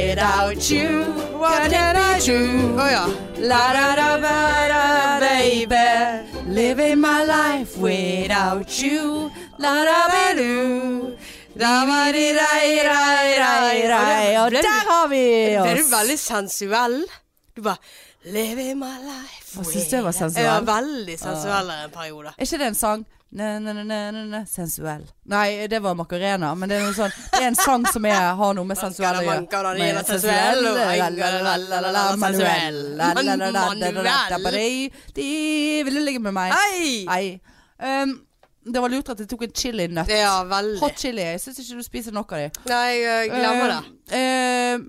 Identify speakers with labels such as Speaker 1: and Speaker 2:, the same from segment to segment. Speaker 1: meet you? Why did I do?
Speaker 2: Å ja.
Speaker 1: La da da ba da baby Living my life without you La da ba do Da ba di da i da i da i da i. Og der har vi
Speaker 2: Ble du
Speaker 1: oss
Speaker 2: veldig sensuell? Du bare Living my life
Speaker 1: Jeg synes det var
Speaker 2: with-
Speaker 1: sensuell. Ah.
Speaker 2: Ja, veldig sensuell en periode.
Speaker 1: Er ikke det en sang? Ne, ne, ne, ne, ne, ne, sensuell. Nei, det var Macarena, men det er, noe sånn, det er en sang som er, har noe med sensuell å gjøre.
Speaker 2: Macarena,
Speaker 1: Med
Speaker 2: sensuell, og
Speaker 1: la, la, la, la, la, la, Manuel. la, la, la, la, la, la, la, la, la, la, De de ville ligge med meg.
Speaker 2: Hei!
Speaker 1: Nei. Um, det var lurt at jeg tok en chilinøtt.
Speaker 2: Ja, veldig.
Speaker 1: Hot chili. Jeg syns ikke du spiser nok av dem.
Speaker 2: Nei, jeg glemmer det.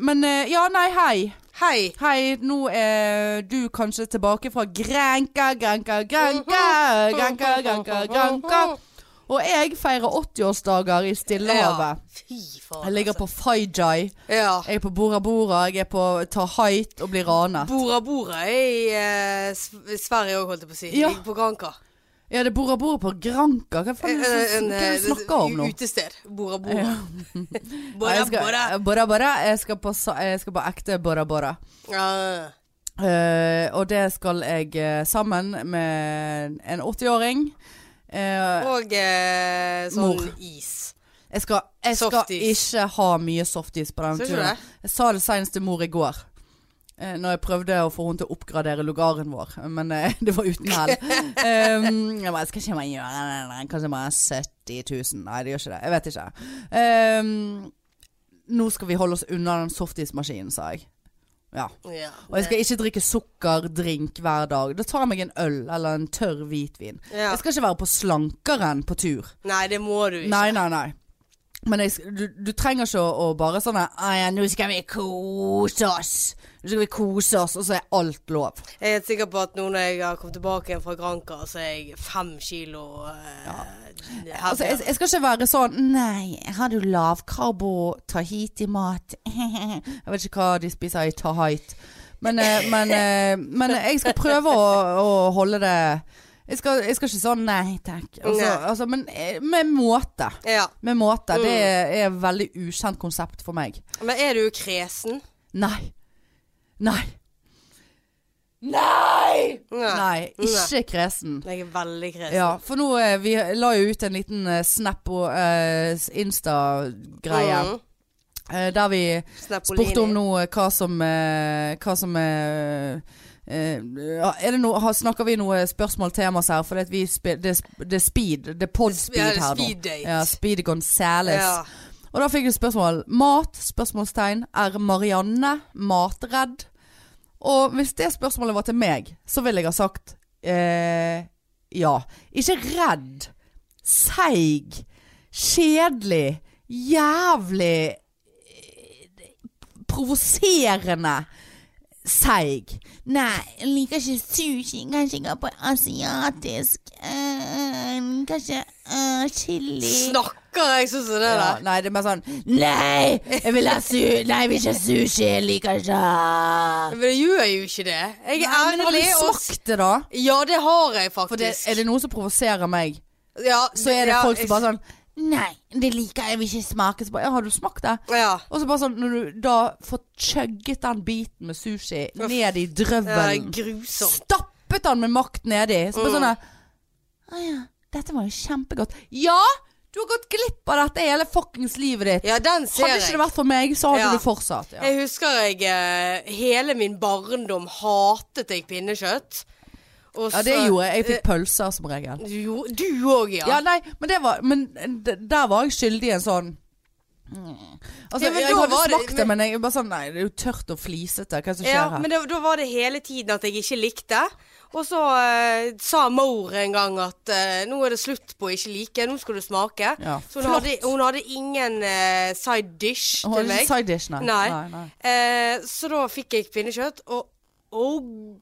Speaker 1: men eh, ja, nei, hei.
Speaker 2: Hei.
Speaker 1: Hei, nå er du kanskje tilbake fra Grenka, Grenka, Grenka. Grenka, Grenka, Grenka. Og jeg feirer 80-årsdager i Stillehavet.
Speaker 2: Fy faen.
Speaker 1: eh. Jeg ligger
Speaker 2: altså.
Speaker 1: på Faijai.
Speaker 2: Ja.
Speaker 1: Jeg er på Bora Bora. Jeg er på Tahait og blir ranet.
Speaker 2: Bora Bora er i eh, Sv- Sverige òg, holdt jeg på å si.
Speaker 1: Ja.
Speaker 2: I- På Eh, Granka.
Speaker 1: Ja, det er Bora Bora på Granka. Hva faen er det du- hva er det du snakker om nå?
Speaker 2: Utested. Bora Bora.
Speaker 1: Ja,
Speaker 2: Bora
Speaker 1: jeg skal,
Speaker 2: Bora.
Speaker 1: Bora Bora. Jeg skal på, sa- jeg skal på ekte Bora Bora.
Speaker 2: Ja.
Speaker 1: Eh, og det skal jeg eh, sammen med en 80-åring. Eh,
Speaker 2: Og eh, sånn
Speaker 1: Mor.
Speaker 2: is.
Speaker 1: Jeg skal, jeg skal
Speaker 2: Softis.
Speaker 1: ikke ha mye softis på den
Speaker 2: Skal ikke
Speaker 1: turen. Sånn
Speaker 2: det?
Speaker 1: Jeg sa det senest til mor i går. eh, Når jeg prøvde å få henne til å oppgradere lugaren vår, men eh, det var uten hell. Um, jeg bare, skal ikke man gjøre det? Nei, Kanskje bare 70 000? Nei, det gjør ikke det. Jeg vet ikke. Um, nå skal vi holde oss unna den softismaskinen, sa jeg. Ja.
Speaker 2: Ja.
Speaker 1: Og jeg skal ikke drikke sukkerdrink hver dag. Da tar jeg meg en øl eller en tørr hvitvin.
Speaker 2: Ja.
Speaker 1: Jeg skal ikke være på slankeren på tur.
Speaker 2: Nei, det må du ikke.
Speaker 1: Nei, nei, nei. Men jeg, sk- du, du trenger ikke å, å bare sånn her, «Å ja, 'Nå skal vi kose oss'. Nå skal vi kose oss, og så er alt lov.
Speaker 2: Jeg er helt sikker på at nå når jeg har kommet tilbake igjen fra Granka, så er jeg fem kilo eh,
Speaker 1: Altså, jeg, jeg skal ikke være sånn 'Nei, har du lavkarbo tahiti-mat?' Jeg vet ikke hva de spiser i Tahait. Men, eh, men, eh, men jeg skal prøve å, å holde det jeg skal, jeg skal ikke sånn 'nei takk'. Altså,
Speaker 2: Nei. Mm.
Speaker 1: altså, men eh, med måte.
Speaker 2: ja.
Speaker 1: Med måte. Det er, er et veldig ukjent konsept for meg.
Speaker 2: Men er du kresen?
Speaker 1: Nei. Nei. Nei! Nei, ikke kresen.
Speaker 2: Jeg er veldig kresen.
Speaker 1: Ja, for nå eh, Vi la jo ut en liten eh, snap og eh, Insta-greie.
Speaker 2: Mhm.
Speaker 1: eh, der vi
Speaker 2: Snapolini.
Speaker 1: spurte om nå eh, hva som eh, Hva som eh, eh, ja, er det noe, har- snakker vi noe spørsmål temas her? For det, at vi spe, det, er sp- det er speed. Det er
Speaker 2: Ja,
Speaker 1: pod-speed
Speaker 2: det er
Speaker 1: her nå.
Speaker 2: speed date.
Speaker 1: Ja, speed Gonzales.
Speaker 2: Ja.
Speaker 1: Og da fikk jeg spørsmål. Mat? Spørsmålstegn. Er Marianne matredd? Og hvis det spørsmålet var til meg, så ville jeg ha sagt eh, ja. Ikke redd. Seig. Kjedelig. Jævlig eh, Provoserende. Seig.
Speaker 3: Nei, jeg liker ikke sushi. Kanskje jeg går på asiatisk. eh, kanskje eh, chili.
Speaker 2: Snakker jeg sånn som det
Speaker 1: Ja,
Speaker 2: der?
Speaker 1: nei, det er mer sånn
Speaker 3: Nei, jeg vil ha su nei, jeg vil ikke ha sushi. Jeg liker ikke
Speaker 2: Men jeg gjør jo ikke det. Jeg er
Speaker 1: Nei, men har du
Speaker 2: ærlig og s-
Speaker 1: smakt det, da?
Speaker 2: Ja, det har jeg
Speaker 1: For det,
Speaker 2: faktisk.
Speaker 1: er det noe som provoserer meg,
Speaker 2: ja,
Speaker 1: så er det
Speaker 2: ja,
Speaker 1: folk som bare sånn
Speaker 3: Nei, det liker jeg. jeg vil ikke smake.
Speaker 1: så bare, ja, 'Har du smakt det?'
Speaker 2: Ja.
Speaker 1: Og så bare sånn, når du da får chugget den biten med sushi ned i
Speaker 2: Det er
Speaker 1: drøvelen,
Speaker 2: grusomt.
Speaker 1: stappet den med makt nedi, så bare
Speaker 2: Mm.
Speaker 1: sånn
Speaker 3: Å ja, dette var jo kjempegodt.
Speaker 1: Ja! Du har gått glipp av dette hele fuckings livet ditt.
Speaker 2: Ja, den ser
Speaker 1: Hadde
Speaker 2: jeg.
Speaker 1: ikke det vært for meg, så hadde
Speaker 2: Ja.
Speaker 1: du fortsatt. Ja.
Speaker 2: Jeg husker jeg eh, hele min barndom hatet jeg pinnekjøtt. Og
Speaker 1: ja, det
Speaker 2: så-
Speaker 1: gjorde jeg. Jeg fikk pølser som regel.
Speaker 2: Du gjorde- Du òg, ja.
Speaker 1: Ja, nei, men, det var, men d- der var jeg skyldig i en sånn Altså,
Speaker 2: Ja, men
Speaker 1: jeg
Speaker 2: da
Speaker 1: hadde
Speaker 2: var det-
Speaker 1: smakt det, men jeg bare sånn Nei, det er jo tørt og flisete. Hva er det som skjer
Speaker 2: Ja,
Speaker 1: her?
Speaker 2: men da, da var det hele tiden at jeg ikke likte. Og så eh, sa Moore en gang at eh, nå er det slutt på å ikke like, nå skal du smake.
Speaker 1: Ja,
Speaker 2: så hun hadde, hun hadde ingen eh, side dish
Speaker 1: Hun
Speaker 2: til
Speaker 1: hadde
Speaker 2: meg.
Speaker 1: ikke side dish, nei.
Speaker 2: Nei.
Speaker 1: Nei, nei.
Speaker 2: Eh, så da fikk jeg pinnekjøtt, og og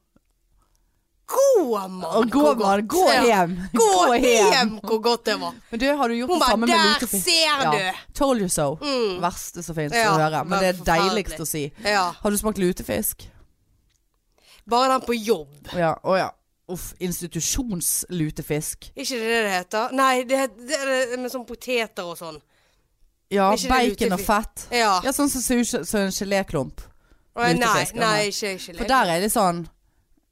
Speaker 2: Gå, mann!
Speaker 1: Å, gå,
Speaker 2: hvor godt.
Speaker 1: mann, gå hjem.
Speaker 2: Gå,
Speaker 1: Gå hjem.
Speaker 2: hjem. hvor godt det var.
Speaker 1: Men du, har du gjort
Speaker 2: Hun
Speaker 1: det
Speaker 2: bare,
Speaker 1: samme med
Speaker 2: "Der
Speaker 1: lutefisk?
Speaker 2: ser
Speaker 1: Ja.
Speaker 2: du!" Mm.
Speaker 1: Told you so. Verste som finnes å
Speaker 2: Ja,
Speaker 1: høre. Men det er
Speaker 2: forferdelig.
Speaker 1: deiligst å si.
Speaker 2: Ja.
Speaker 1: Har du smakt lutefisk?
Speaker 2: Bare den på jobb.
Speaker 1: Å ja. Å ja. Uff. Institusjonslutefisk.
Speaker 2: Ikke det det heter? Nei, det, het- det er det med sånn poteter og sånn.
Speaker 1: Ja,
Speaker 2: Er ikke det
Speaker 1: bacon og
Speaker 2: lutefisk?
Speaker 1: fett.
Speaker 2: Ja.
Speaker 1: Ja, sånn som ser ut som en geléklump.
Speaker 2: Nei, nei,
Speaker 1: lutefisk.
Speaker 2: ikke chili.
Speaker 1: For der er det sånn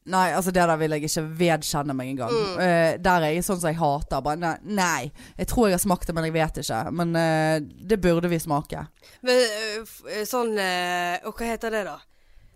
Speaker 1: Nei, altså det der vil jeg ikke vedkjenne meg engang. Eh, der er jeg sånn som jeg hater. Bare nei, nei. Jeg tror jeg har smakt det, men jeg vet ikke. Men eh, det burde vi smake.
Speaker 2: Men eh, f- eh, sånn eh, Og hva heter det, da?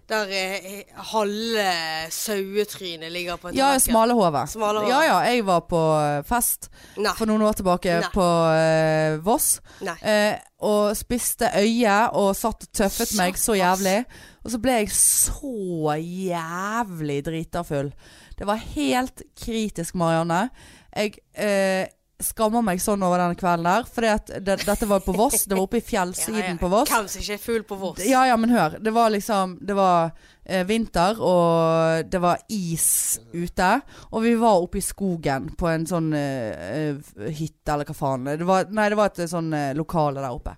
Speaker 2: Der eh, halve sauetrynet ligger på en
Speaker 1: Ja, smalahove.
Speaker 2: Smalahove.
Speaker 1: Ja ja, jeg var på eh, fest
Speaker 2: Nei.
Speaker 1: for noen år tilbake
Speaker 2: Nei.
Speaker 1: på eh, Voss.
Speaker 2: nei.
Speaker 1: Eh, og spiste øye og satt og tøffet meg så jævlig. Og så ble jeg så jævlig drita full. Det var helt kritisk, Marianne. Jeg eh, skammer meg sånn over den kvelden der. For det, dette var på Voss. Det var oppe i fjellsiden på Voss.
Speaker 2: Hvem som ikke er fugl på Voss?
Speaker 1: Ja, ja, men hør. Det var liksom Det var eh, vinter, og det var is ute. Og vi var oppe i skogen på en sånn eh, eh, hytte, eller hva faen. Det var, nei, det var et eh, sånn eh, lokale der oppe.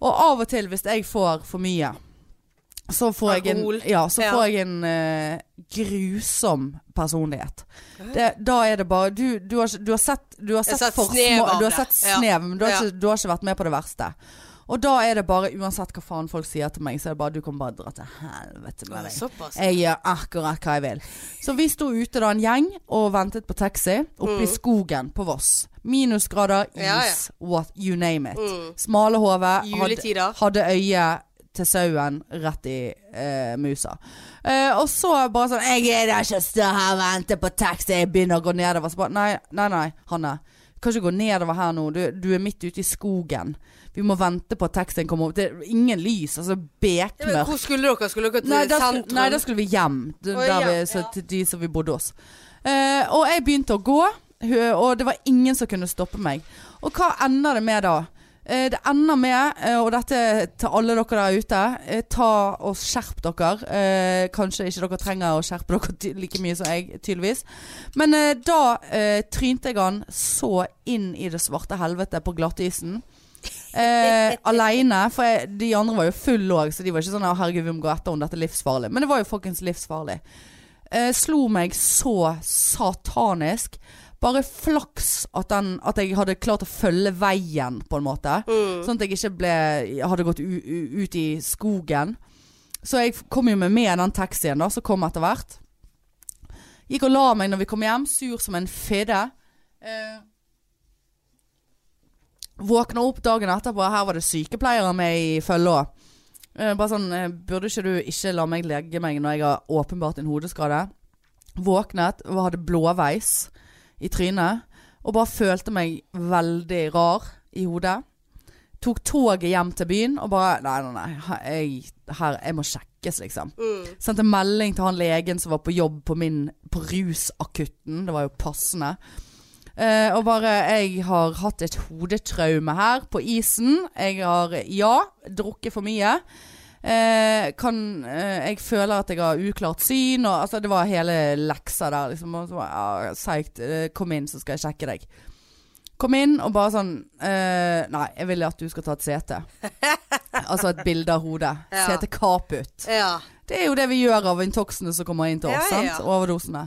Speaker 1: Og av og til, hvis jeg får for mye, så får jeg en,
Speaker 2: Alkohol.
Speaker 1: ja, så
Speaker 2: Ja.
Speaker 1: får jeg en eh, grusom personlighet. Det, da er det bare Du, du, har, ikke- du har sett, du har
Speaker 2: Jeg har
Speaker 1: sett,
Speaker 2: sett
Speaker 1: for
Speaker 2: snev
Speaker 1: små
Speaker 2: av
Speaker 1: Du har
Speaker 2: det.
Speaker 1: sett
Speaker 2: Ja.
Speaker 1: snev, men du har,
Speaker 2: Ja.
Speaker 1: ikke, du har ikke vært med på det verste. Og da er det bare, uansett hva faen folk sier til meg, så er det bare du kan bare dra til helvete med deg.
Speaker 2: Såpass.
Speaker 1: Jeg gjør akkurat hva jeg vil. Så vi sto ute da en gjeng og ventet på taxi oppe i skogen på Voss. Minusgrader, is,
Speaker 2: Mm. Ja, ja.
Speaker 1: what you name it.
Speaker 2: Mm.
Speaker 1: Smalahove hadde,
Speaker 2: Juletider.
Speaker 1: hadde øye til sauen rett i eh, musa. Eh, og så bare sånn Jeg gidder ikke å stå her og vente på taxi, jeg begynner å gå nedover. Så bare Nei, nei, nei, Hanne. Du kan ikke gå nedover her nå. Du, du er midt ute i skogen. Vi må vente på at taxien kommer opp. Det er ingen lys. Altså
Speaker 2: Ja, men
Speaker 1: bekmørkt.
Speaker 2: Hvor skulle dere? Skulle dere til
Speaker 1: Nei, da skulle,
Speaker 2: sentrum?
Speaker 1: nei, da skulle vi hjem. d-
Speaker 2: Å,
Speaker 1: der
Speaker 2: ja,
Speaker 1: vi, så, Til de som vi bodde hos. Eh, og jeg begynte å gå, hø- og det var ingen som kunne stoppe meg. Og hva ender det med da? Eh, det ender med, eh, og dette til alle dere der ute, eh, ta og skjerp dere. Eh, kanskje ikke dere trenger å skjerpe dere ty like mye som jeg, tydeligvis. Men eh, da eh, trynte jeg han så inn i det svarte helvete på glattisen. Eh, Aleine, for jeg, de andre var jo fulle òg, så de var ikke sånn «Å, 'herregud, vi må gå etter henne, dette er livsfarlig'. Men det var jo fuckings livsfarlig. Eh, slo meg så satanisk. Bare flaks at, den, at jeg hadde klart å følge veien, på en måte. Sånn at jeg ikke ble, hadde gått u, u, ut i skogen. Så jeg kom jo med med den taxien da, som kom etter hvert. Gikk og la meg når vi kom hjem, sur som en fidde. Eh, Våkna opp dagen etterpå, her var det sykepleiere med i følge òg. Bare sånn eh, Burde ikke du ikke la meg legge meg når jeg har åpenbart en hodeskade? Våknet og hadde blåveis i trynet. Og bare følte meg veldig rar i hodet. Tok toget hjem til byen og bare Nei, nei, nei. her- Jeg, her, jeg må sjekkes, liksom.
Speaker 2: Mm.
Speaker 1: Sendte melding til han legen som var på jobb på min På rusakutten Det var jo passende Eh, Og bare, jeg har hatt et hodetraume her På isen Jeg har, ja, drukket for mye Eh, kan, eh, jeg føler at jeg har uklart syn og, altså, Det var hele leksa der liksom, og så, bare, ja, Seigt, eh, kom inn så skal jeg sjekke deg Kom inn og bare sånn eh, Nei, jeg vil at du skal ta et sete Altså et bilde av hodet
Speaker 2: Ja.
Speaker 1: Sete kaput
Speaker 2: Ja.
Speaker 1: det er jo det vi gjør av intoksene som kommer inn til oss.
Speaker 2: Ja, ja, ja.
Speaker 1: Sant? Overdosene.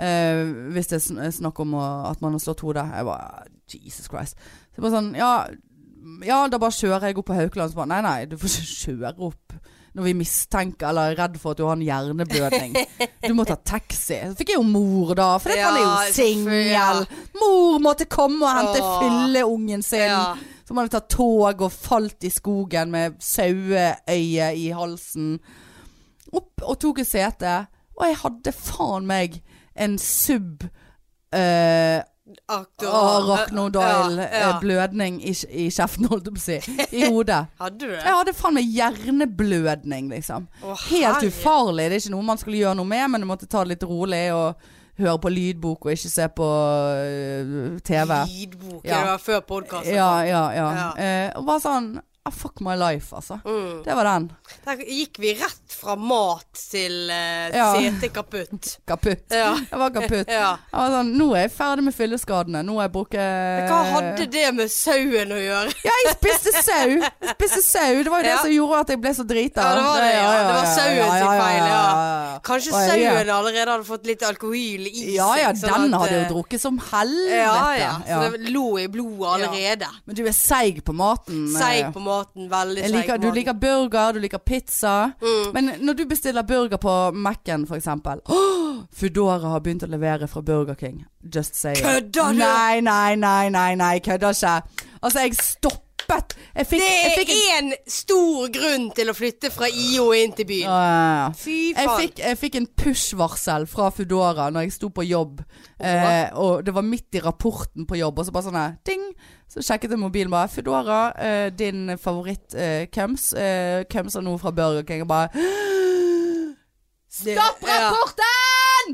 Speaker 1: Eh, hvis det er sn- snakk om å- at man har slått hodet. Jeg bare Jesus Christ. Så jeg bare sånn, ja, ja, da bare kjører jeg opp på Haukeland. Så bare, nei, nei, du får ikke kjøre opp når vi mistenker eller er redd for at du har en hjerneblødning. Du må ta taxi. Så fikk jeg jo mor, da. For
Speaker 2: Ja,
Speaker 1: man er jo
Speaker 2: ja.
Speaker 1: singel. Mor måtte komme og hente
Speaker 2: Åh.
Speaker 1: fylleungen sin.
Speaker 2: ja.
Speaker 1: Som hadde tatt tog og falt i skogen med saueøye i halsen. Opp og tok et sete. Og jeg hadde faen meg en sub eh, arachnoidal
Speaker 2: Ja, ja.
Speaker 1: eh, blødning i, i kjeften, holdt jeg på å si. I hodet.
Speaker 2: Hadde du det?
Speaker 1: Jeg hadde faen meg hjerneblødning, liksom.
Speaker 2: Å,
Speaker 1: Helt
Speaker 2: herre.
Speaker 1: ufarlig. Det er ikke noe man skulle gjøre noe med, men du måtte ta det litt rolig og høre på lydbok og ikke se på eh, TV.
Speaker 2: Lydbok.
Speaker 1: Ja.
Speaker 2: Det var før podkasten.
Speaker 1: Ja, ja, ja.
Speaker 2: altså. Ja.
Speaker 1: Eh, og bare sånn ah, Fuck my life, altså.
Speaker 2: Mm.
Speaker 1: Det var den.
Speaker 2: Der gikk vi rett fra mat til uh,
Speaker 1: Ja.
Speaker 2: sete kaputt.
Speaker 1: Kaputt.
Speaker 2: Ja.
Speaker 1: Jeg var kaputt.
Speaker 2: ja.
Speaker 1: Jeg var sånn, Nå er jeg ferdig med fylleskadene. Nå har jeg brukt
Speaker 2: Hva hadde det med sauen å gjøre?
Speaker 1: Ja, jeg spiste sau! Jeg Spiste sau. Det var jo det
Speaker 2: Ja.
Speaker 1: som gjorde at jeg ble så drita.
Speaker 2: Ja, det var det, ja. Det var sauen sin feil, ja. Kanskje
Speaker 1: Og jeg-
Speaker 2: sauen allerede hadde fått litt alkohol i seg.
Speaker 1: Ja ja,
Speaker 2: sånn
Speaker 1: den
Speaker 2: at,
Speaker 1: hadde jo
Speaker 2: eh,
Speaker 1: drukket som helvete.
Speaker 2: Ja, ja.
Speaker 1: Ja.
Speaker 2: Så det lå i blodet allerede.
Speaker 1: Men du er seig på maten. eh.
Speaker 2: Seig på maten veldig
Speaker 1: Jeg liker,
Speaker 2: seig
Speaker 1: du
Speaker 2: mat.
Speaker 1: liker burger, du liker pizza.
Speaker 2: Mm.
Speaker 1: Men når du bestiller burger på Mac-en for eksempel «Åh, Foodora har begynt å levere fra Burger King. Just say it.
Speaker 2: Kødder du?
Speaker 1: Nei, nei, nei, nei, nei, kødder ikke. Altså, jeg stoppet. Jeg fikk, jeg fikk
Speaker 2: Det
Speaker 1: en-
Speaker 2: er en stor grunn til å flytte fra IO inn til byen.
Speaker 1: Åh.
Speaker 2: Fy
Speaker 1: Jeg
Speaker 2: faen.
Speaker 1: fikk, jeg fikk en push-varsel fra Foodora når jeg sto på jobb. Eh, og det var midt i rapporten på jobb, og så bare sånn her, ding. Så sjekket jeg mobilen bare. Foodora, eh, din favoritt eh, Kums. Eh, Kums er noe fra Burger King. Og bare
Speaker 2: Det-
Speaker 1: Stopp rapporten!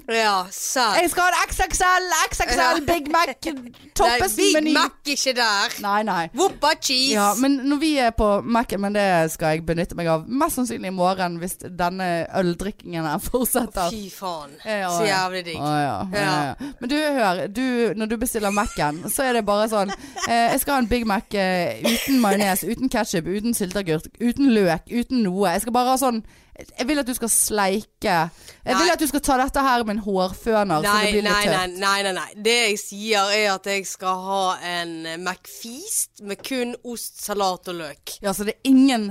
Speaker 2: Ja, ja sant.
Speaker 1: Jeg skal ha en XXL, XXL, Big Mac,
Speaker 2: Nei, Big
Speaker 1: Toppesen-meny.
Speaker 2: Mac ikke der.
Speaker 1: Nei, nei.
Speaker 2: Woppa cheese.
Speaker 1: Ja, men når vi er på Mac-en, men det skal jeg benytte meg av. Mest sannsynlig i morgen hvis denne øldrikkingen her fortsetter.
Speaker 2: Fy faen.
Speaker 1: Ja, ja,
Speaker 2: Så
Speaker 1: ja.
Speaker 2: jævlig digg.
Speaker 1: Å, ja. Ja.
Speaker 2: Ja.
Speaker 1: ja. Men du, hør. Du, når du bestiller Mac-en, så er det bare sånn eh, Jeg skal ha en Big Mac eh, uten majones, uten ketsjup, uten sylteagurk, uten løk, uten noe. Jeg skal bare ha sånn Jeg vil at du skal sleike Jeg vil
Speaker 2: Nei.
Speaker 1: at du skal ta dette her med en hårføner, så det
Speaker 2: Nei,
Speaker 1: blir litt
Speaker 2: nei, nei,
Speaker 1: tørt.
Speaker 2: nei, nei, nei. Det jeg sier er at jeg skal ha en McFeast med kun ost, salat og løk.
Speaker 1: Ja, så det er ingen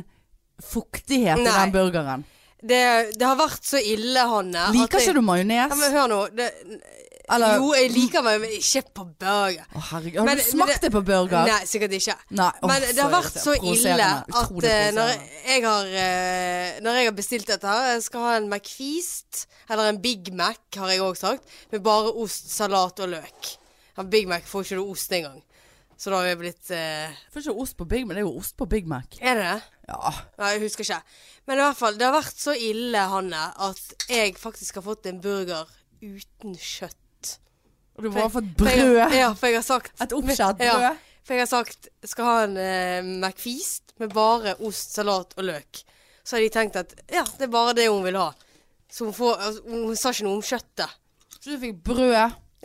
Speaker 1: fuktighet i
Speaker 2: Nei.
Speaker 1: den burgeren.
Speaker 2: Det, det har vært så ille, Hanne.
Speaker 1: Liker ikke du
Speaker 2: ja,
Speaker 1: majones?
Speaker 2: men Hør nå. Det,
Speaker 1: Eller
Speaker 2: jo, jeg liker meg, men ikke på burger.
Speaker 1: Å, herregud. Har
Speaker 2: Men-
Speaker 1: du
Speaker 2: men
Speaker 1: smakt det på burger?
Speaker 2: Nei, sikkert ikke.
Speaker 1: Nei, åh,
Speaker 2: Men det har vært så
Speaker 1: irriterende. Provoserende.
Speaker 2: ille at
Speaker 1: Utrolig
Speaker 2: eh, når
Speaker 1: provoserende.
Speaker 2: jeg, har, eh, når jeg har bestilt dette her Jeg skal ha en McFeast, eller en Big Mac, har jeg òg sagt, med bare ost, salat og løk. Ja, Big Mac får ikke du ost engang. Så da har jeg blitt eh,
Speaker 1: Får ikke ost på Big Mac, det er jo ost på Big Mac.
Speaker 2: Er det det?
Speaker 1: Ja.
Speaker 2: Nei, jeg husker ikke. Men i hvert fall, det har vært så ille, Hanne, at jeg faktisk har fått en burger uten kjøtt.
Speaker 1: Og du må ha fått
Speaker 2: For jeg-
Speaker 1: brød.
Speaker 2: Ja, for jeg har sagt
Speaker 1: Et oppskjært
Speaker 2: Ja.
Speaker 1: brød.
Speaker 2: For jeg har sagt skal ha en eh, McFeast med bare ost, salat og løk. Så har de tenkt at ja, det er bare det hun vil ha. Så hun, får, altså, hun sa ikke noe om kjøttet.
Speaker 1: Så du fikk brød,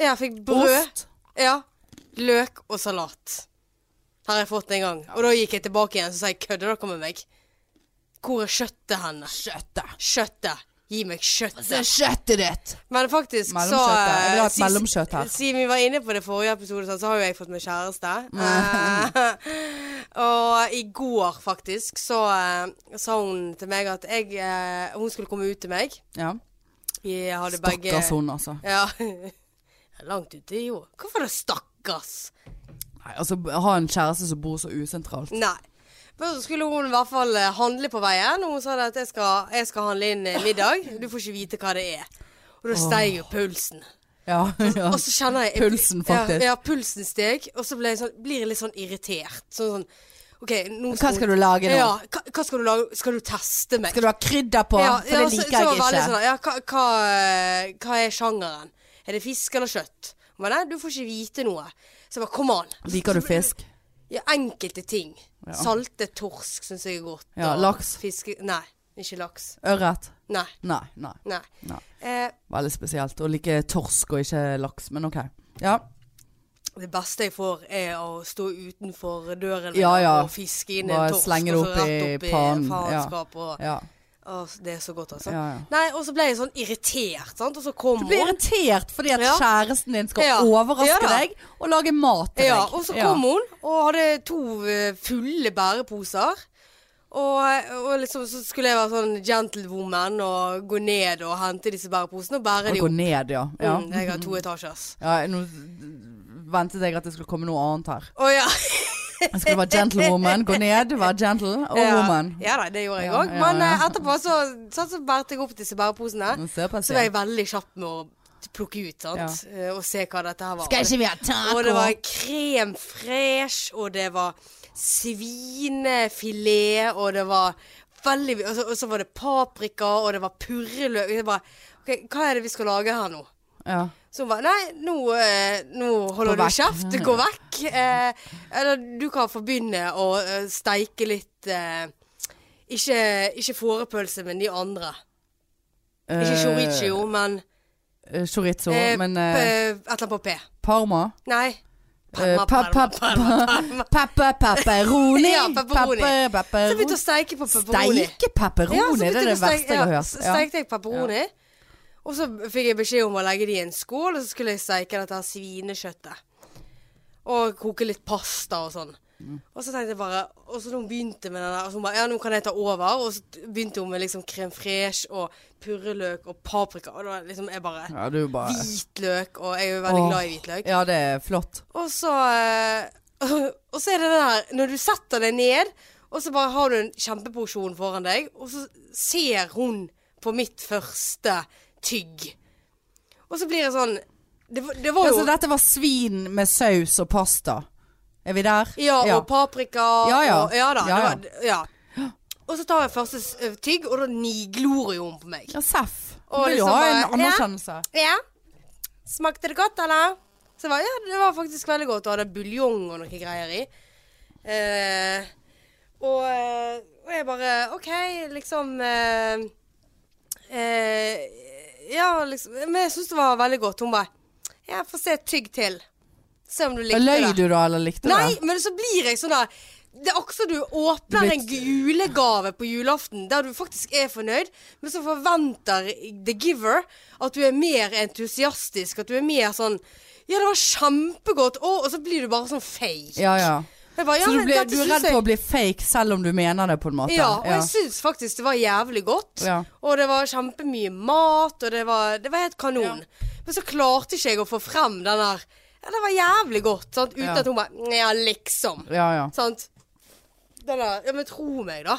Speaker 2: Jeg fikk brød,
Speaker 1: ost
Speaker 2: ja, løk og salat. Har jeg fått en gang. Og da gikk jeg tilbake igjen og sa jeg, kødder dere med meg? Hvor er kjøttet henne?
Speaker 1: Kjøttet.
Speaker 2: Kjøttet. Gi meg
Speaker 1: Se
Speaker 2: kjøttet.
Speaker 1: Altså, kjøttet ditt!
Speaker 2: Men faktisk så
Speaker 1: Mellomkjøttet. Jeg vil ha et
Speaker 2: eh,
Speaker 1: mellomkjøtt her.
Speaker 2: Siden vi var inne på det forrige episode, sånn, så har jo jeg fått meg kjæreste.
Speaker 1: Mm.
Speaker 2: Eh, og i går, faktisk, så eh, sa hun til meg at jeg eh, Hun skulle komme ut til meg.
Speaker 1: Ja.
Speaker 2: Vi hadde begge
Speaker 1: Stakkars hun, altså.
Speaker 2: Ja. Langt ute, jo. Hvorfor det stakkars?
Speaker 1: Nei, altså. Ha en kjæreste som bor så usentralt.
Speaker 2: Nei. Men så skulle hun i hvert fall eh, handle på veien, og hun sa det at jeg skal, jeg skal handle inn eh, middag. Du får ikke vite hva det er. Og da steg jo pulsen.
Speaker 1: Ja, ja.
Speaker 2: Og så kjenner jeg
Speaker 1: Pulsen, faktisk.
Speaker 2: Ja, ja pulsen steg, og så ble jeg sånn, blir jeg litt sånn irritert. Sånn sånn OK, nå
Speaker 1: Hva skal du lage nå?
Speaker 2: Ja, hva, hva skal du lage? Skal du teste meg?
Speaker 1: Skal du ha krydder på?
Speaker 2: ja,
Speaker 1: For det
Speaker 2: så-
Speaker 1: liker
Speaker 2: så
Speaker 1: jeg
Speaker 2: var
Speaker 1: ikke.
Speaker 2: veldig Sånn, ja, hva, hva, eh, hva er sjangeren? Er det fisk eller kjøtt? Hun bare, nei, du får ikke vite noe. Så jeg bare, kom an.
Speaker 1: Liker du fisk?
Speaker 2: Ja, enkelte ting. Saltet torsk syns jeg er godt.
Speaker 1: Ja,
Speaker 2: og
Speaker 1: laks.
Speaker 2: Fiske, nei, ikke laks.
Speaker 1: Ørret?
Speaker 2: Nei.
Speaker 1: Nei. nei,
Speaker 2: nei.
Speaker 1: nei.
Speaker 2: Eh,
Speaker 1: Veldig spesielt. Å like torsk og ikke laks, men OK. Ja.
Speaker 2: Det beste jeg får, er å stå utenfor døren
Speaker 1: Ja, ja.
Speaker 2: og fiske inn
Speaker 1: Bare
Speaker 2: en torsk.
Speaker 1: slenge det
Speaker 2: og så
Speaker 1: opp
Speaker 2: rett
Speaker 1: i
Speaker 2: opp
Speaker 1: pannen, ja.
Speaker 2: Faenskap, og,
Speaker 1: ja.
Speaker 2: Åh, det er så godt, altså.
Speaker 1: Ja, ja.
Speaker 2: Nei, og så ble jeg sånn irritert, sant. Og så kom
Speaker 1: Du blir
Speaker 2: hun.
Speaker 1: irritert fordi at
Speaker 2: Ja.
Speaker 1: kjæresten din skal
Speaker 2: Ja. Ja
Speaker 1: overraske
Speaker 2: da.
Speaker 1: deg og lage mat til deg.
Speaker 2: Ja, og så kom hun og hadde to eh, fulle bæreposer. Og, og liksom så skulle jeg være sånn gentlewoman og gå ned og hente disse bæreposene og bære
Speaker 1: Og
Speaker 2: de
Speaker 1: gå
Speaker 2: opp.
Speaker 1: ned, ja. ja.
Speaker 2: Mm, jeg har to etasjers.
Speaker 1: ja nå ventet jeg at det skulle komme noe annet her.
Speaker 2: Å ja.
Speaker 1: Jeg skulle være gentlewoman, gå ned, være gentle og woman.
Speaker 2: Ja da, det gjorde jeg
Speaker 1: Ja,
Speaker 2: òg.
Speaker 1: ja,
Speaker 2: Men
Speaker 1: ja.
Speaker 2: eh, etterpå så, sånn så bærte jeg opp disse bæreposene.
Speaker 1: Men se på
Speaker 2: Så var jeg veldig kjapp med å plukke ut sant? Eh, og se hva dette her var.
Speaker 3: Skal ikke vi ha
Speaker 2: og det
Speaker 3: taco?
Speaker 2: var krem fresh, og det var svinefilet, og det var veldig Og så, og så var det paprika, og det var purreløk. Jeg bare OK, hva er det vi skal lage her nå?
Speaker 1: Ja.
Speaker 2: Så hun bare Nei, nå, eh, nå
Speaker 1: Gå
Speaker 2: holder du
Speaker 1: vekk.
Speaker 2: kjeft. Gå vekk. Eh, eller du kan forbegynne å eh, steike litt eh, Ikke, ikke fårepølse, men de andre. Ikke
Speaker 1: Eh,
Speaker 2: chorizo, men
Speaker 1: eh, Chorizo,
Speaker 2: eh,
Speaker 1: men
Speaker 2: p-
Speaker 1: eh,
Speaker 2: Et eller annet på P.
Speaker 1: parma.
Speaker 2: Nei.
Speaker 1: Eh, pa- pa- Pepper, pepperoni.
Speaker 2: Ja, pepperoni.
Speaker 1: Pepper,
Speaker 2: Så
Speaker 1: pepperoni.
Speaker 2: begynte jeg å steike på pepperoni.
Speaker 1: Steike pepperoni, det er det verste jeg har hørt.
Speaker 2: Så
Speaker 1: Ja.
Speaker 2: steikte jeg pepperoni. Og så fikk jeg beskjed om å legge det i en skål, og så skulle jeg steike dette her svinekjøttet. Og koke litt pasta og sånn.
Speaker 1: Mm.
Speaker 2: Og så tenkte jeg bare Og så da hun begynte med den der, og så hun bare Ja, nå kan jeg ta over. Og så begynte hun med liksom crème fraîche og purreløk og paprika. Og da liksom jeg bare
Speaker 1: Ja, du bare
Speaker 2: Hvitløk, og jeg er jo veldig
Speaker 1: Åh.
Speaker 2: glad i hvitløk.
Speaker 1: Ja, det er flott.
Speaker 2: Og så eh, Og så er det det der Når du setter deg ned, og så bare har du en kjempeporsjon foran deg, og så ser hun på mitt første tygg. Og så blir jeg sånn Det, var- det var
Speaker 1: Ja,
Speaker 2: jo
Speaker 1: så dette var svin med saus og pasta. Er vi der?
Speaker 2: Ja, og paprika
Speaker 1: Ja, ja.
Speaker 2: Og, ja da.
Speaker 1: Ja, ja.
Speaker 2: Det var, ja. Og så tar jeg første s- ø, tygg, og da niglorer jo hun på meg.
Speaker 1: Ja, seff.
Speaker 2: Og
Speaker 1: Vil jo
Speaker 2: liksom
Speaker 1: ha en
Speaker 2: bare-
Speaker 1: anerkjennelse.
Speaker 2: Ja. Smakte det godt, eller? Så jeg bare, ja, det var faktisk veldig godt. Og hadde buljong og noe greier i. Eh, og, eh, og jeg bare OK, liksom eh, eh, Ja, liksom Men jeg syns det var veldig godt. Hun bare Ja, få se et tygg til. Se om du likte det.
Speaker 1: Løy du da, eller likte du
Speaker 2: Nei,
Speaker 1: det?
Speaker 2: men så blir jeg sånn der Det er akkurat som du åpner
Speaker 1: Du
Speaker 2: en julegave på julaften der du faktisk er fornøyd, men så forventer the giver at du er mer entusiastisk, at du er mer sånn Ja, det var kjempegodt, å, og så blir du bare sånn fake.
Speaker 1: Ja, ja.
Speaker 2: Jeg bare, ja,
Speaker 1: Så du,
Speaker 2: men
Speaker 1: ble,
Speaker 2: dette
Speaker 1: du er
Speaker 2: synes
Speaker 1: redd
Speaker 2: jeg-
Speaker 1: for å bli fake selv om du mener det, på en måte?
Speaker 2: ja, og jeg syns faktisk det var jævlig godt.
Speaker 1: Ja.
Speaker 2: Og det var kjempemye mat, og det var, det var helt kanon. Men så klarte ikke jeg å få frem den der Ja, det var jævlig godt, sant? uten
Speaker 1: Ja.
Speaker 2: at hun bare Ja, liksom.
Speaker 1: ja, ja.
Speaker 2: Sant? Den der, ja, men tro meg, da.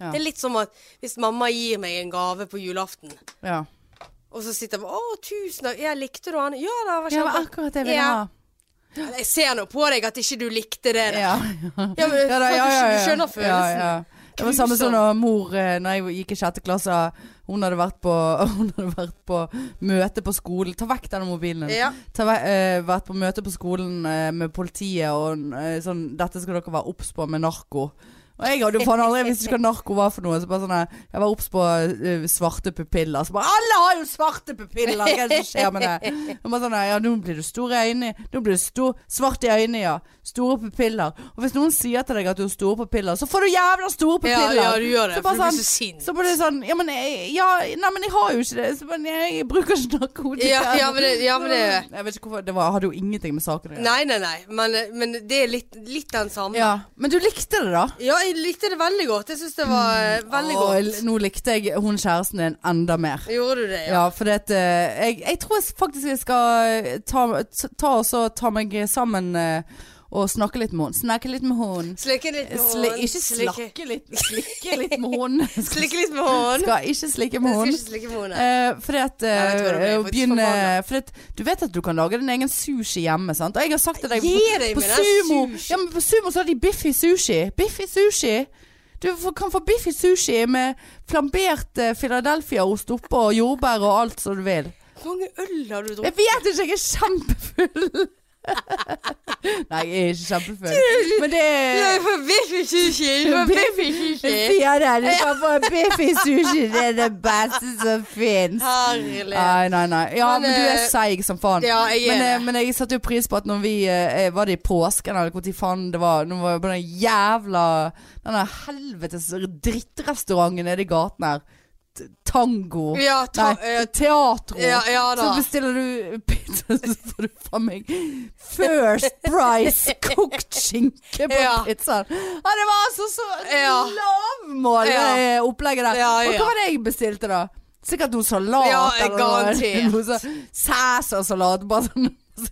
Speaker 1: Ja.
Speaker 2: Det er litt som at hvis mamma gir meg en gave på julaften,
Speaker 1: ja.
Speaker 2: og så sitter jeg bare 'Å, tusen takk. Jeg likte du han?' Ja, det var
Speaker 1: Ja, det var
Speaker 2: kjempe...
Speaker 1: akkurat det jeg ville
Speaker 2: Ja.
Speaker 1: ha.
Speaker 2: Jeg ser nå på deg at ikke du likte det. Da.
Speaker 1: Ja.
Speaker 2: Ja, men,
Speaker 1: Ja, da,
Speaker 2: for at
Speaker 1: ja,
Speaker 2: du-
Speaker 1: ja, ja.
Speaker 2: Du skjønner følelsen.
Speaker 1: Ja, ja. Det var samme som når mor, eh, når jeg gikk i sjette klasse, hun hadde vært på, hun hadde vært på møte på skolen. Ta vekk denne mobilen din.
Speaker 2: Ja.
Speaker 1: Ta ve eh, vært på møte på skolen eh, med politiet og eh, sånn Dette skal dere være obs på med narko. Og jeg hadde jo faen aldri visst ikke hva narko var for noe. Så bare sånn eh, Jeg var obs på eh, svarte pupiller. Så bare Alle har jo svarte pupiller! Hva er det som skjer med det? Og bare sånn eh, Ja, nå blir du store øyne. Nå blir du stor Svart i øynene, ja. Store pupiller. Og hvis noen sier til deg at du har store pupiller, så får du jævla store
Speaker 2: Ja,
Speaker 1: pupiller!
Speaker 2: ja, du gjør det.
Speaker 1: Så bare
Speaker 2: for du
Speaker 1: sånn-
Speaker 2: blir så sint.
Speaker 1: så bare sånn Ja, men jeg, ja, nei, men jeg har jo ikke det. Så bare, jeg bruker ikke narkotika.
Speaker 2: Ja, ja, men det- ja, men det-
Speaker 1: Jeg vet ikke hvorfor Det var, hadde jo ingenting med saken å gjøre.
Speaker 2: Nei, nei, nei. Men, men det er litt, litt den samme.
Speaker 1: Ja. Men du likte det, da?
Speaker 2: Ja, jeg likte det veldig godt. Jeg syns det var eh, veldig
Speaker 1: Mm. Åh,
Speaker 2: godt.
Speaker 1: l- Nå likte jeg hun kjæresten din enda mer.
Speaker 2: Gjorde du det?
Speaker 1: Ja, for det at eh, jeg, jeg tror jeg faktisk jeg skal eh, ta, ta, ta, og så ta meg sammen eh, og snakke litt med hun. Snakke litt med hun.
Speaker 2: Slikke litt med
Speaker 1: Sli,
Speaker 2: hånden.
Speaker 1: ikke slakke litt, slikke litt med hun. Skal,
Speaker 2: Slikke litt med hånden.
Speaker 1: skal ikke slikke
Speaker 2: Jeg
Speaker 1: med
Speaker 2: skal
Speaker 1: hun.
Speaker 2: ikke slikke med hånden.
Speaker 1: Eh, fordi at eh,
Speaker 2: Nei, vet du hva, da ble jeg
Speaker 1: å
Speaker 2: faktisk
Speaker 1: begynne,
Speaker 2: forbanna.
Speaker 1: fordi at, Du vet at du kan lage din egen sushi hjemme, sant? Og jeg har sagt til deg
Speaker 2: Gi deg
Speaker 1: på
Speaker 2: med den
Speaker 1: sumo,
Speaker 2: sushi.
Speaker 1: ja, men på sumo så har de Biffy sushi. Biffy sushi. Du får- kan få Biffy sushi med flambert eh, Philadelphia-ost oppå og jordbær og alt som du vil.
Speaker 2: Hvor mange øl har du
Speaker 1: Jeg
Speaker 2: drukket?
Speaker 1: vet ikke, jeg er kjempefull. Nei, jeg er ikke kjempefull. Men det er
Speaker 2: får biff i sushi. biff i sushi.
Speaker 1: Ja, det er du kan få Biffy sushi. Det er det beste som fins.
Speaker 2: Herlig.
Speaker 1: Nei, nei, nei. Ja, men,
Speaker 2: Men,
Speaker 1: du er
Speaker 2: eh,
Speaker 1: seig som faen.
Speaker 2: ja, jeg er
Speaker 1: men, eh,
Speaker 2: det.
Speaker 1: men jeg satte jo pris på at når vi eh, Var det i påsken, eller når faen det var? Nå var jeg på den jævla Den der helvetes drittrestauranten nede i gaten her. T- Tango.
Speaker 2: Ja, ta,
Speaker 1: Nei,
Speaker 2: eh,
Speaker 1: teatro.
Speaker 2: ja, ja da.
Speaker 1: så bestiller du pizza, så får du faen meg First Price kokt skinke på
Speaker 2: Ja.
Speaker 1: pizzaen. Ja, det var altså så
Speaker 2: Ja.
Speaker 1: lavmål, det
Speaker 2: Ja.
Speaker 1: opplegget der.
Speaker 2: Ja,
Speaker 1: Og
Speaker 2: ja.
Speaker 1: hva var det jeg bestilte, da? Sikkert noe salat
Speaker 2: Ja,
Speaker 1: eller
Speaker 2: garantert.
Speaker 1: noe, noe sånn Cæsarsalat. Bare sånn, sånn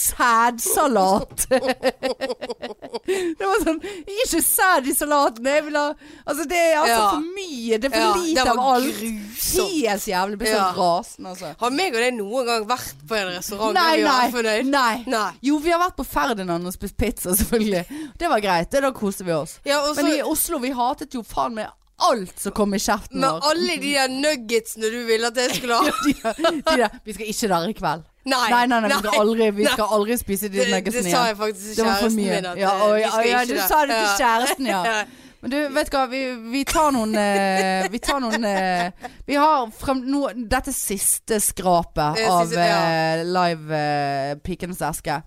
Speaker 1: sædsalat. det var sånn Ikke sæd i salaten. Jeg vil ha Altså, det er altså
Speaker 2: Ja.
Speaker 1: for mye. Det er for
Speaker 2: Ja, det
Speaker 1: lite av
Speaker 2: var
Speaker 1: alt.
Speaker 2: grusomt.
Speaker 1: Helt jævlig. Blir så
Speaker 2: Ja.
Speaker 1: rasende, altså.
Speaker 2: Har meg og deg noen gang vært på en restaurant
Speaker 1: Nei,
Speaker 2: der vi var
Speaker 1: nei,
Speaker 2: fornøyd?
Speaker 1: nei.
Speaker 2: Nei.
Speaker 1: Jo, vi har vært på Ferdinand og spist pizza, selvfølgelig. Det var greit. det Da koste vi oss.
Speaker 2: Ja, og
Speaker 1: Men
Speaker 2: så-
Speaker 1: i Oslo, vi hatet jo faen meg alt som kom i kjeften
Speaker 2: Med
Speaker 1: vår.
Speaker 2: alle de der nuggetsene du ville at jeg skulle ha.
Speaker 1: De, de der, vi skal ikke der i kveld.
Speaker 2: Nei,
Speaker 1: nei, nei, Vi,
Speaker 2: nei,
Speaker 1: skal aldri, vi
Speaker 2: nei.
Speaker 1: skal aldri spise de
Speaker 2: Det, det
Speaker 1: nuggetene
Speaker 2: sa
Speaker 1: igjen.
Speaker 2: jeg faktisk til
Speaker 1: Det var for
Speaker 2: kjæresten
Speaker 1: mye.
Speaker 2: min. At,
Speaker 1: ja,
Speaker 2: eh,
Speaker 1: å,
Speaker 2: vi
Speaker 1: ja,
Speaker 2: skal
Speaker 1: ja,
Speaker 2: ikke
Speaker 1: du
Speaker 2: det.
Speaker 1: sa det til
Speaker 2: Ja.
Speaker 1: kjæresten, ja. Men du, vet du hva, vi, vi tar noen eh, Vi tar noen eh, Vi har frem, no, dette siste skrapet
Speaker 2: Det
Speaker 1: av
Speaker 2: siste,
Speaker 1: eh, live eh, Pikenes eske.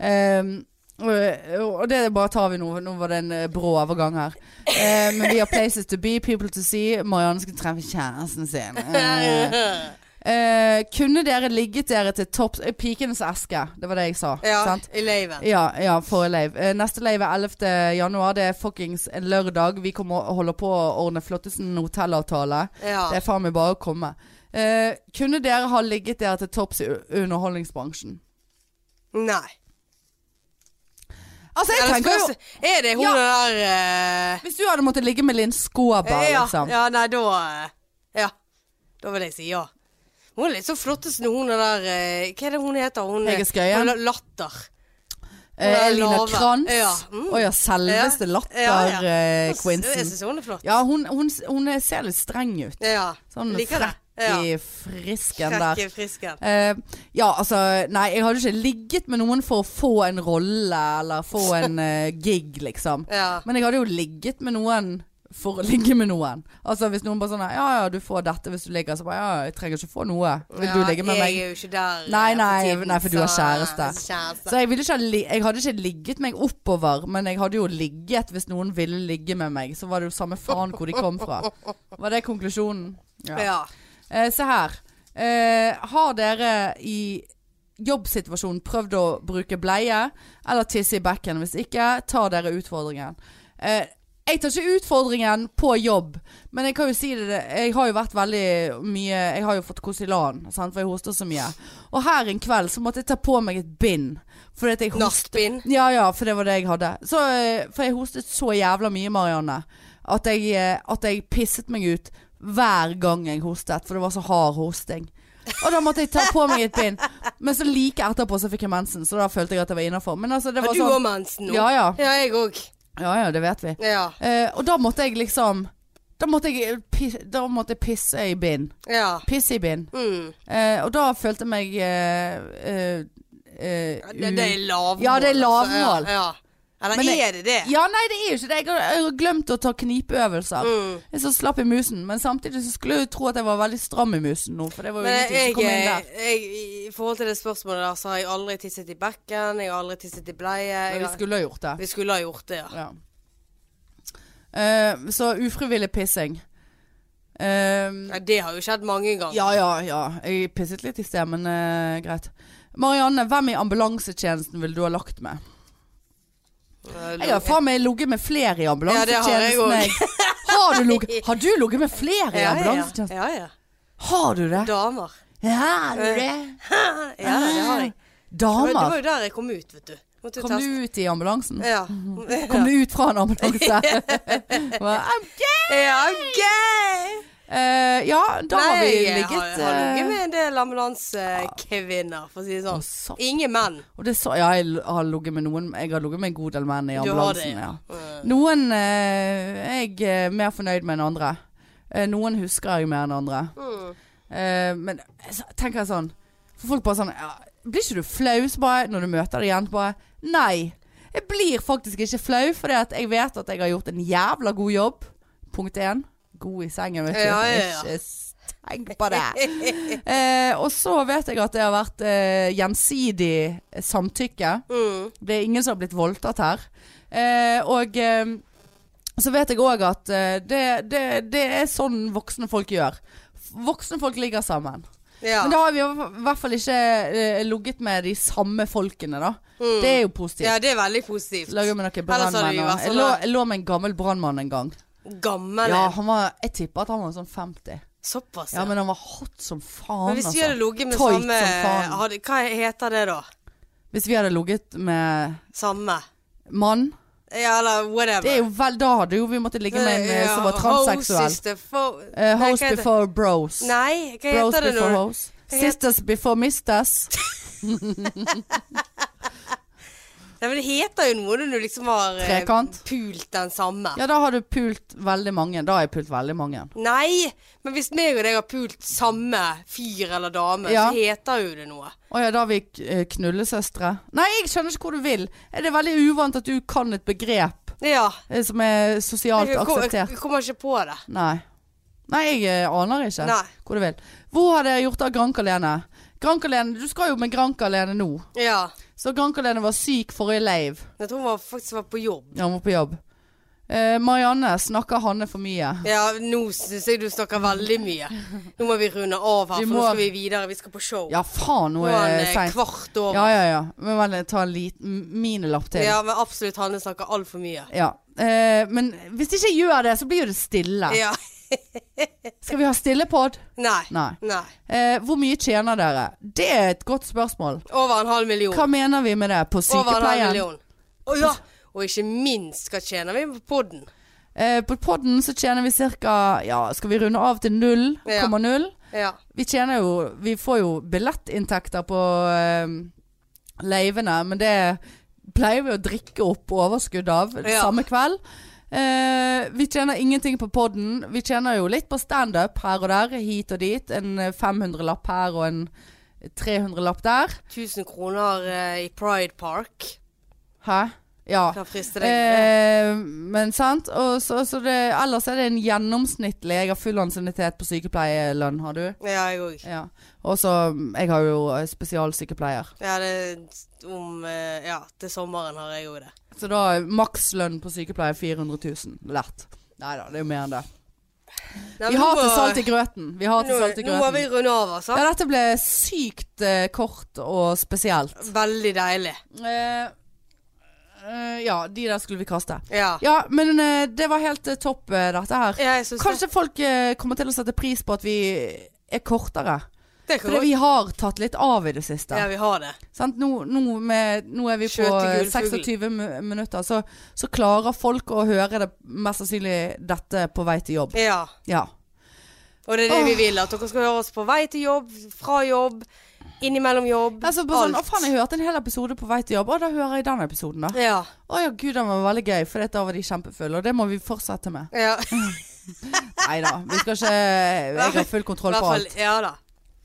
Speaker 1: Ehm, og- og det bare tar vi nå. Nå var det en eh, brå overgang her. Eh, men vi har places to be, people to see. Marianne skal treffe kjæresten sin. Eh, Eh, kunne dere ligget dere til topps eh, Pikenes eske, det var det jeg sa.
Speaker 2: Ja,
Speaker 1: Sant?
Speaker 2: i leiven.
Speaker 1: Ja, ja, forrige lave. Eh, Neste lave er 11. januar. Det er fuckings en lørdag. Vi kommer og holder på å ordne flottesen hotellavtale.
Speaker 2: Ja.
Speaker 1: Det er faen meg bare å komme. Eh, kunne dere ha ligget dere til topps i u- underholdningsbransjen?
Speaker 2: Nei.
Speaker 1: Altså, jeg
Speaker 2: Eller
Speaker 1: tenker jo
Speaker 2: spørs Er det hun
Speaker 1: Ja.
Speaker 2: der eh,
Speaker 1: Hvis du hadde måttet ligge med Linn Skåber,
Speaker 2: ja,
Speaker 1: liksom.
Speaker 2: ja, nei, da eh, Ja. Da vil jeg si ja. Hun er litt så flottest når hun er der eh, Hva er det hun heter? Hun eh,
Speaker 1: Hege Skøyen?
Speaker 2: Hun la- Latter.
Speaker 1: Eh, Elina
Speaker 2: Lave.
Speaker 1: Kranz.
Speaker 2: Ja, mm.
Speaker 1: Å ja, selveste
Speaker 2: Ja,
Speaker 1: latter-Quinsen.
Speaker 2: Jeg syns hun er flott.
Speaker 1: Ja, hun, hun, hun ser litt streng ut.
Speaker 2: Ja.
Speaker 1: Sånn
Speaker 2: Liker det.
Speaker 1: frekk i frisken
Speaker 2: Frekk
Speaker 1: der.
Speaker 2: i frisken.
Speaker 1: Eh, ja, altså Nei, jeg hadde ikke ligget med noen for å få en rolle eller få en eh, gig, liksom.
Speaker 2: Ja.
Speaker 1: Men jeg hadde jo ligget med noen for å ligge med noen. Altså Hvis noen bare sånn Ja ja, du får dette hvis du ligger. Så bare ja, jeg trenger ikke få noe. Vil du
Speaker 2: Ja,
Speaker 1: ligge med meg?
Speaker 2: Jeg er jo ikke der. eh,
Speaker 1: Nei,
Speaker 2: for
Speaker 1: nei,
Speaker 2: tiden,
Speaker 1: nei, for du har
Speaker 2: så-
Speaker 1: kjæreste.
Speaker 2: kjæreste.
Speaker 1: Så jeg, ville ikke, ha li- jeg hadde ikke ligget meg oppover, men jeg hadde jo ligget hvis noen ville ligge med meg. Så var det jo samme faen hvor de kom fra. Var det konklusjonen?
Speaker 2: ja. ja.
Speaker 1: Eh, se her. Eh, har dere i jobbsituasjonen prøvd å bruke bleie eller tisse i bekken? Hvis ikke, tar dere utfordringen. Eh, jeg tar ikke utfordringen på jobb, men jeg kan jo si det Jeg har jo vært veldig mye Jeg har jo fått Kosilan, sant, for jeg hoster så mye. Og her en kveld så måtte jeg ta på meg et bind. Fordi at jeg hostet
Speaker 2: Nattbind.
Speaker 1: ja, ja, for det var det jeg hadde. Så, eh, for jeg hostet så jævla mye, Marianne, at jeg, eh, at jeg pisset meg ut hver gang jeg hostet, for det var så hard hosting. Og da måtte jeg ta på meg et bind. Men så like etterpå så fikk jeg mensen, så da følte jeg at jeg var innafor. Men altså, det
Speaker 2: Har
Speaker 1: var
Speaker 2: du òg
Speaker 1: sånn
Speaker 2: mensen nå?
Speaker 1: Ja ja.
Speaker 2: Ja, jeg òg.
Speaker 1: Ja ja, det vet vi.
Speaker 2: Ja.
Speaker 1: Eh, og da måtte jeg liksom Da måtte jeg, pi- da måtte jeg pisse i bind.
Speaker 2: ja.
Speaker 1: Pisse i bind.
Speaker 2: Mm.
Speaker 1: Eh, og da følte jeg meg eh, eh, eh,
Speaker 2: Ja, Det, det er lavmål.
Speaker 1: Ja, det er lavmål.
Speaker 2: altså, Ja, ja. Eller
Speaker 1: Men
Speaker 2: er det det?
Speaker 1: Ja, nei, det er jo ikke det. Jeg har- Jeg har glemt å ta knipeøvelser.
Speaker 2: Mm.
Speaker 1: Jeg så slapp i musen, men samtidig så skulle jeg jo tro at jeg var veldig stram i musen nå, for det var jo
Speaker 2: Men jeg, eh,
Speaker 1: ingenting som kom inn der.
Speaker 2: jeg, I forhold til det spørsmålet der, så har jeg aldri tisset i bekken, jeg har aldri tisset i bleie. Jeg
Speaker 1: Men vi
Speaker 2: har,
Speaker 1: skulle ha gjort det.
Speaker 2: vi skulle ha gjort det, ja.
Speaker 1: Ja. Eh, så ufrivillig pissing. Eh,
Speaker 2: ja. Det har jo skjedd mange ganger.
Speaker 1: ja, ja, ja. Jeg pisset litt i sted, men eh, greit. Marianne, hvem i ambulansetjenesten ville du ha lagt med?
Speaker 2: Eh,
Speaker 1: Jeg har faen meg ligget med flere i ambulansetjenesten.
Speaker 2: Ja, det har jeg
Speaker 1: jeg. har du ligget- har du ligget med flere i
Speaker 2: ja, ja,
Speaker 1: ambulansetjenesten?
Speaker 2: ja, ja.
Speaker 1: Har du det?
Speaker 2: Damer.
Speaker 1: Ja, du det?
Speaker 2: Eh,
Speaker 1: Eh,
Speaker 2: Ja, det har jeg. Det var, det var
Speaker 1: Ah, Damer.
Speaker 2: jo der jeg kom ut, vet du. Måtte jo
Speaker 1: Kom
Speaker 2: teste.
Speaker 1: du ut Mhm. i ambulansen?
Speaker 2: Ja.
Speaker 1: Kom du ut fra en ambulanse? Hva? I'm gay!
Speaker 2: ja, gøy!
Speaker 1: Eh, ja, da har vi
Speaker 2: jeg
Speaker 1: ligget.
Speaker 2: har, har
Speaker 1: eh,
Speaker 2: ligget med en del ambulansekvinner, for å si det
Speaker 1: Å,
Speaker 2: sånn.
Speaker 1: sant.
Speaker 2: Ingen menn.
Speaker 1: og det så, ja, jeg har ligget med noen Jeg har ligget med en god del menn i
Speaker 2: Du har det, Mm.
Speaker 1: ambulansen. Ja. Noen eh, jeg er mer fornøyd med enn andre. Eh, noen husker jeg mer enn andre.
Speaker 2: Mm.
Speaker 1: Eh, men så tenker jeg sånn For folk bare sånn ja, Blir ikke du flau så bare når du møter det igjen? Bare Nei. Jeg blir faktisk ikke flau, fordi at jeg vet at jeg har gjort en jævla god jobb. Punkt én. God i sengen, vet du.
Speaker 2: Ja, ja, ja.
Speaker 1: Ikke tenk på det. Eh, og så vet jeg at det har vært eh, gjensidig samtykke.
Speaker 2: Mm.
Speaker 1: Det er ingen som har blitt voldtatt her. Eh, og eh, så vet jeg òg at eh, det, det, det er sånn voksne folk gjør. F- Voksne folk ligger sammen.
Speaker 2: Ja.
Speaker 1: Men da har vi jo i hvert fall ikke eh, ligget med de samme folkene, da.
Speaker 2: Mm.
Speaker 1: Det er jo positivt.
Speaker 2: ja, det er veldig positivt.
Speaker 1: Lager med noen
Speaker 2: Ellers hadde vi
Speaker 1: brannmenn. og-
Speaker 2: vært
Speaker 1: Jeg,
Speaker 2: sånn
Speaker 1: lå-
Speaker 2: da-
Speaker 1: jeg lå med en gammel brannmann en gang.
Speaker 2: Gammel
Speaker 1: Ja,
Speaker 2: en.
Speaker 1: han var, jeg tipper at han var sånn 50.
Speaker 2: Såpass,
Speaker 1: Ja, men han var hot som faen,
Speaker 2: Men hvis vi hadde
Speaker 1: altså.
Speaker 2: ligget med
Speaker 1: Tøyt som
Speaker 2: samme
Speaker 1: faen.
Speaker 2: hadde, Hva heter det da?
Speaker 1: Hvis vi hadde ligget med
Speaker 2: Samme?
Speaker 1: mann
Speaker 2: Ja, eller whatever.
Speaker 1: Det er jo vel Da hadde jo vi måttet ligge med en eh, som var transseksuell.
Speaker 2: Host, is the fo-
Speaker 1: Eh,
Speaker 2: Nei,
Speaker 1: host
Speaker 2: hva heter-
Speaker 1: before bros.
Speaker 2: Nei, hva
Speaker 1: bros
Speaker 2: heter det
Speaker 1: before
Speaker 2: nå?
Speaker 1: hoes.
Speaker 2: Hva heter-
Speaker 1: Sisters before misters.
Speaker 2: Nei, men det heter jo noe når du liksom har eh,
Speaker 1: Trekant?
Speaker 2: pult den samme.
Speaker 1: Ja, da har du pult veldig mange. Da har jeg pult veldig mange.
Speaker 2: Nei, men hvis meg og deg har pult samme fyr eller dame,
Speaker 1: Ja.
Speaker 2: så heter jo det noe.
Speaker 1: Å ja, da har vi eh, knullesøstre. Nei, jeg skjønner ikke hvor du vil. Er det veldig uvant at du kan et begrep
Speaker 2: Ja.
Speaker 1: eh, som er sosialt
Speaker 2: jeg, kom, jeg,
Speaker 1: akseptert?
Speaker 2: kommer ikke på det.
Speaker 1: Nei. Nei, jeg eh, aner ikke
Speaker 2: Nei.
Speaker 1: hvor du vil. Hvor har dere gjort av Grankalene? Grankalene, Du skal jo med Grankalene nå.
Speaker 2: Ja.
Speaker 1: Så Grankalene var syk forrige lave.
Speaker 2: Jeg tror hun var- faktisk var på jobb.
Speaker 1: Ja, han var på jobb. Eh, Marianne, snakker Hanne for mye?
Speaker 2: Ja, nå syns jeg du snakker veldig mye. Nå må vi runde av her,
Speaker 1: Vi
Speaker 2: for
Speaker 1: må-
Speaker 2: nå skal vi videre. Vi skal på show.
Speaker 1: Ja, faen, nå
Speaker 2: nå
Speaker 1: er
Speaker 2: er
Speaker 1: det
Speaker 2: det
Speaker 1: seint.
Speaker 2: kvart over.
Speaker 1: Ja, ja, ja. Men vel, ta en liten minilapp til.
Speaker 2: Ja, men absolutt. Hanne snakker altfor mye.
Speaker 1: Ja. Eh, men hvis ikke jeg gjør det, så blir jo det stille.
Speaker 2: Ja.
Speaker 1: Skal vi ha stillepod?
Speaker 2: Nei.
Speaker 1: Nei.
Speaker 2: Nei.
Speaker 1: Eh, hvor mye tjener dere? Det er et godt spørsmål.
Speaker 2: Over en halv million.
Speaker 1: Hva mener vi med det? På
Speaker 2: Over en halv
Speaker 1: sykepleien?
Speaker 2: million. Å ja. Og ikke minst, hva tjener vi på podden?
Speaker 1: Eh, på podden så tjener vi ca. Ja, skal vi runde av til 0,0?
Speaker 2: Ja. Ja.
Speaker 1: Vi tjener jo Vi får jo billettinntekter på eh, leivene, men det pleier vi å drikke opp overskudd av
Speaker 2: Ja.
Speaker 1: samme kveld. Eh, vi tjener ingenting på podden. Vi tjener jo litt på standup her og der, hit og dit. En 500-lapp her og en 300-lapp der.
Speaker 2: 1000 kroner eh, i Pride Park.
Speaker 1: Hæ? Ja.
Speaker 2: Kan friste deg.
Speaker 1: Eh, men sant. Og så, så det, ellers er det en gjennomsnittlig Jeg har full ansiennitet på sykepleierlønn, har du?
Speaker 2: ja, jeg òg.
Speaker 1: Ja. Og så Jeg har jo eh, spesialsykepleier.
Speaker 2: Ja, det om eh, Ja, til sommeren har jeg òg det.
Speaker 1: Så da er makslønn på sykepleier 400 000. Lett. Nei da, det er jo mer enn det.
Speaker 2: Nei,
Speaker 1: Vi
Speaker 2: men
Speaker 1: har
Speaker 2: nå
Speaker 1: til
Speaker 2: må-
Speaker 1: salt i grøten. Vi har til salt i
Speaker 2: Nå, nå må vi
Speaker 1: grøten.
Speaker 2: runde av, altså.
Speaker 1: Ja, dette ble sykt eh, kort og spesielt.
Speaker 2: Veldig deilig.
Speaker 1: Eh, eh, ja, de der skulle vi kaste.
Speaker 2: Ja.
Speaker 1: Ja, men eh, det var helt eh, topp, eh, dette her.
Speaker 2: ja jeg syns det.
Speaker 1: Kanskje folk eh, kommer til å sette pris på at vi er kortere.
Speaker 2: Det kan
Speaker 1: Fordi
Speaker 2: godt
Speaker 1: vi har tatt litt av i det siste.
Speaker 2: Ja, vi har det.
Speaker 1: Sant? Nå, nå, med, nå er vi på
Speaker 2: Skjøtegul fugl.
Speaker 1: 26 mu- minutter, så, så klarer folk å høre det mest sannsynlig dette på vei til jobb.
Speaker 2: Ja.
Speaker 1: Ja.
Speaker 2: Og det er det vi
Speaker 1: Åh.
Speaker 2: vil. At dere skal høre oss på vei til jobb, fra jobb, innimellom jobb.
Speaker 1: Altså, bare sånn, å faen, jeg hørte en hel episode på vei til jobb. Å, da hører jeg den episoden, da.
Speaker 2: Ja.
Speaker 1: Å ja, gud, den var veldig gøy, for da var de kjempefulle. Og det må vi fortsette med.
Speaker 2: ja.
Speaker 1: Nei da, vi skal ikke Jeg har full
Speaker 2: I
Speaker 1: kontroll
Speaker 2: hvert
Speaker 1: på
Speaker 2: fall.
Speaker 1: alt.
Speaker 2: Ja da.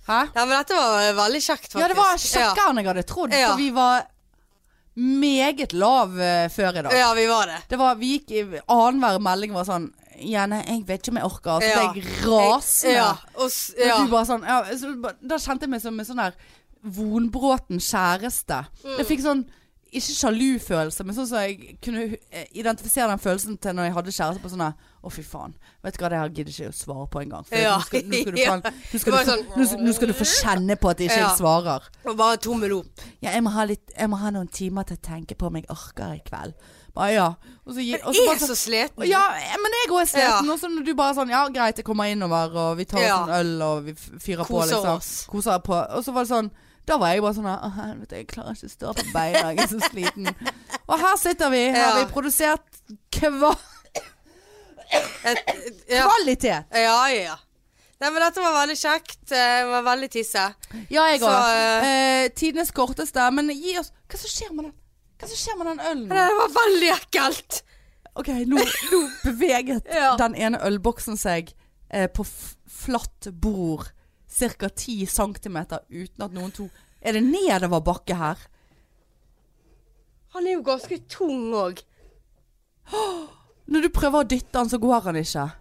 Speaker 1: Hæ?
Speaker 2: Ja, men dette var eh, veldig kjekt, faktisk.
Speaker 1: Ja, det var kjekkere enn jeg hadde trodd,
Speaker 2: Ja.
Speaker 1: for vi var meget lav eh, før i dag.
Speaker 2: Ja. ja, vi var det.
Speaker 1: Det var, vi gikk i annenhver melding var sånn Ja, nei, jeg vet ikke om jeg orker. Så
Speaker 2: Ja.
Speaker 1: ble jeg rasende.
Speaker 2: Ja. Og, s-
Speaker 1: Men
Speaker 2: ja.
Speaker 1: Du bare sånn, ja, så, du bare- da kjente jeg meg som en sånn der vonbråten kjæreste.
Speaker 2: Mm.
Speaker 1: Jeg fikk sånn ikke sjalufølelse, men sånn som jeg kunne eh, identifisere den følelsen til når jeg hadde kjæreste på sånn der Å, fy faen. Vet du hva, det her gidder ikke jeg å svare på engang. For
Speaker 2: Ja.
Speaker 1: nå, skal, nå, skal du faen- nå, skal du,
Speaker 2: Det var sånn,
Speaker 1: få- nå, skal- nå skal du få kjenne på at ikke
Speaker 2: Ja.
Speaker 1: jeg svarer.
Speaker 2: og bare tommel opp.
Speaker 1: Ja, jeg må, ha litt, jeg må ha noen timer til å tenke på om jeg orker i kveld. Bare ja. Og så, gi- og så
Speaker 2: Jeg
Speaker 1: bare sånn,
Speaker 2: er så sliten.
Speaker 1: ja, men jeg òg er sliten.
Speaker 2: Ja.
Speaker 1: Og så når du bare sånn Ja, greit, jeg kommer innover, og vi tar oss
Speaker 2: Ja.
Speaker 1: en øl, og vi f- fyrer på,
Speaker 2: Koser
Speaker 1: liksom.
Speaker 2: oss.
Speaker 1: Koser på. Og så var det sånn Da var jeg bare sånn her, Å, helvete, jeg klarer ikke å stå på beina, jeg er så sliten. Og her sitter vi. Her har
Speaker 2: Ja.
Speaker 1: vi produsert kva
Speaker 2: Et, ja.
Speaker 1: kvalitet.
Speaker 2: Ja, ja, ja. Nei, men dette var veldig kjekt. Eh, Det var veldig tisse.
Speaker 1: Ja, jeg
Speaker 2: Så,
Speaker 1: òg. Eh, Tidenes korteste. Men gi oss Hva som skjer med den? Hva som skjer med den ølen?
Speaker 2: Det var veldig ekkelt.
Speaker 1: OK, nå, nå beveget
Speaker 2: Ja.
Speaker 1: den ene ølboksen seg eh, på f flatt bord ca. 10 cm uten at noen to Er det nedoverbakke her?
Speaker 2: Han er jo ganske tung òg.
Speaker 1: Når du prøver å dytte han, så går han ikke.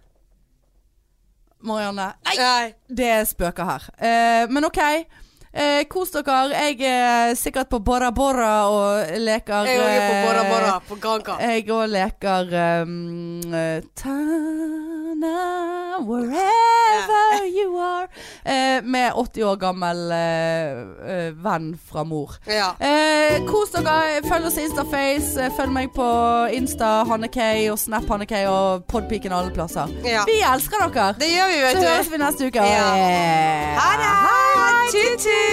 Speaker 1: Marianne. Nei,
Speaker 2: Nei.
Speaker 1: det er spøker her. Eh, men OK. Eh, kos dere. Jeg er sikkert på Bora Bora og leker
Speaker 2: Jeg òg er på
Speaker 1: eh,
Speaker 2: Bora Bora på Granca.
Speaker 1: Jeg òg leker um, eh, Tana, wherever you are eh, Med 80 år gammel eh, eh, venn fra mor.
Speaker 2: Ja.
Speaker 1: Eh, kos dere. Følg oss i Instaface. eh, Følg meg på Insta Hanne K og Snap Hanne K og Podpiken alle plasser.
Speaker 2: Ja.
Speaker 1: Vi elsker dere!
Speaker 2: Det gjør vi,
Speaker 1: Så
Speaker 2: vet
Speaker 1: høres
Speaker 2: du.
Speaker 1: vi neste uke.
Speaker 2: Ja.
Speaker 1: Eh,
Speaker 2: Ha det. Tut-tut.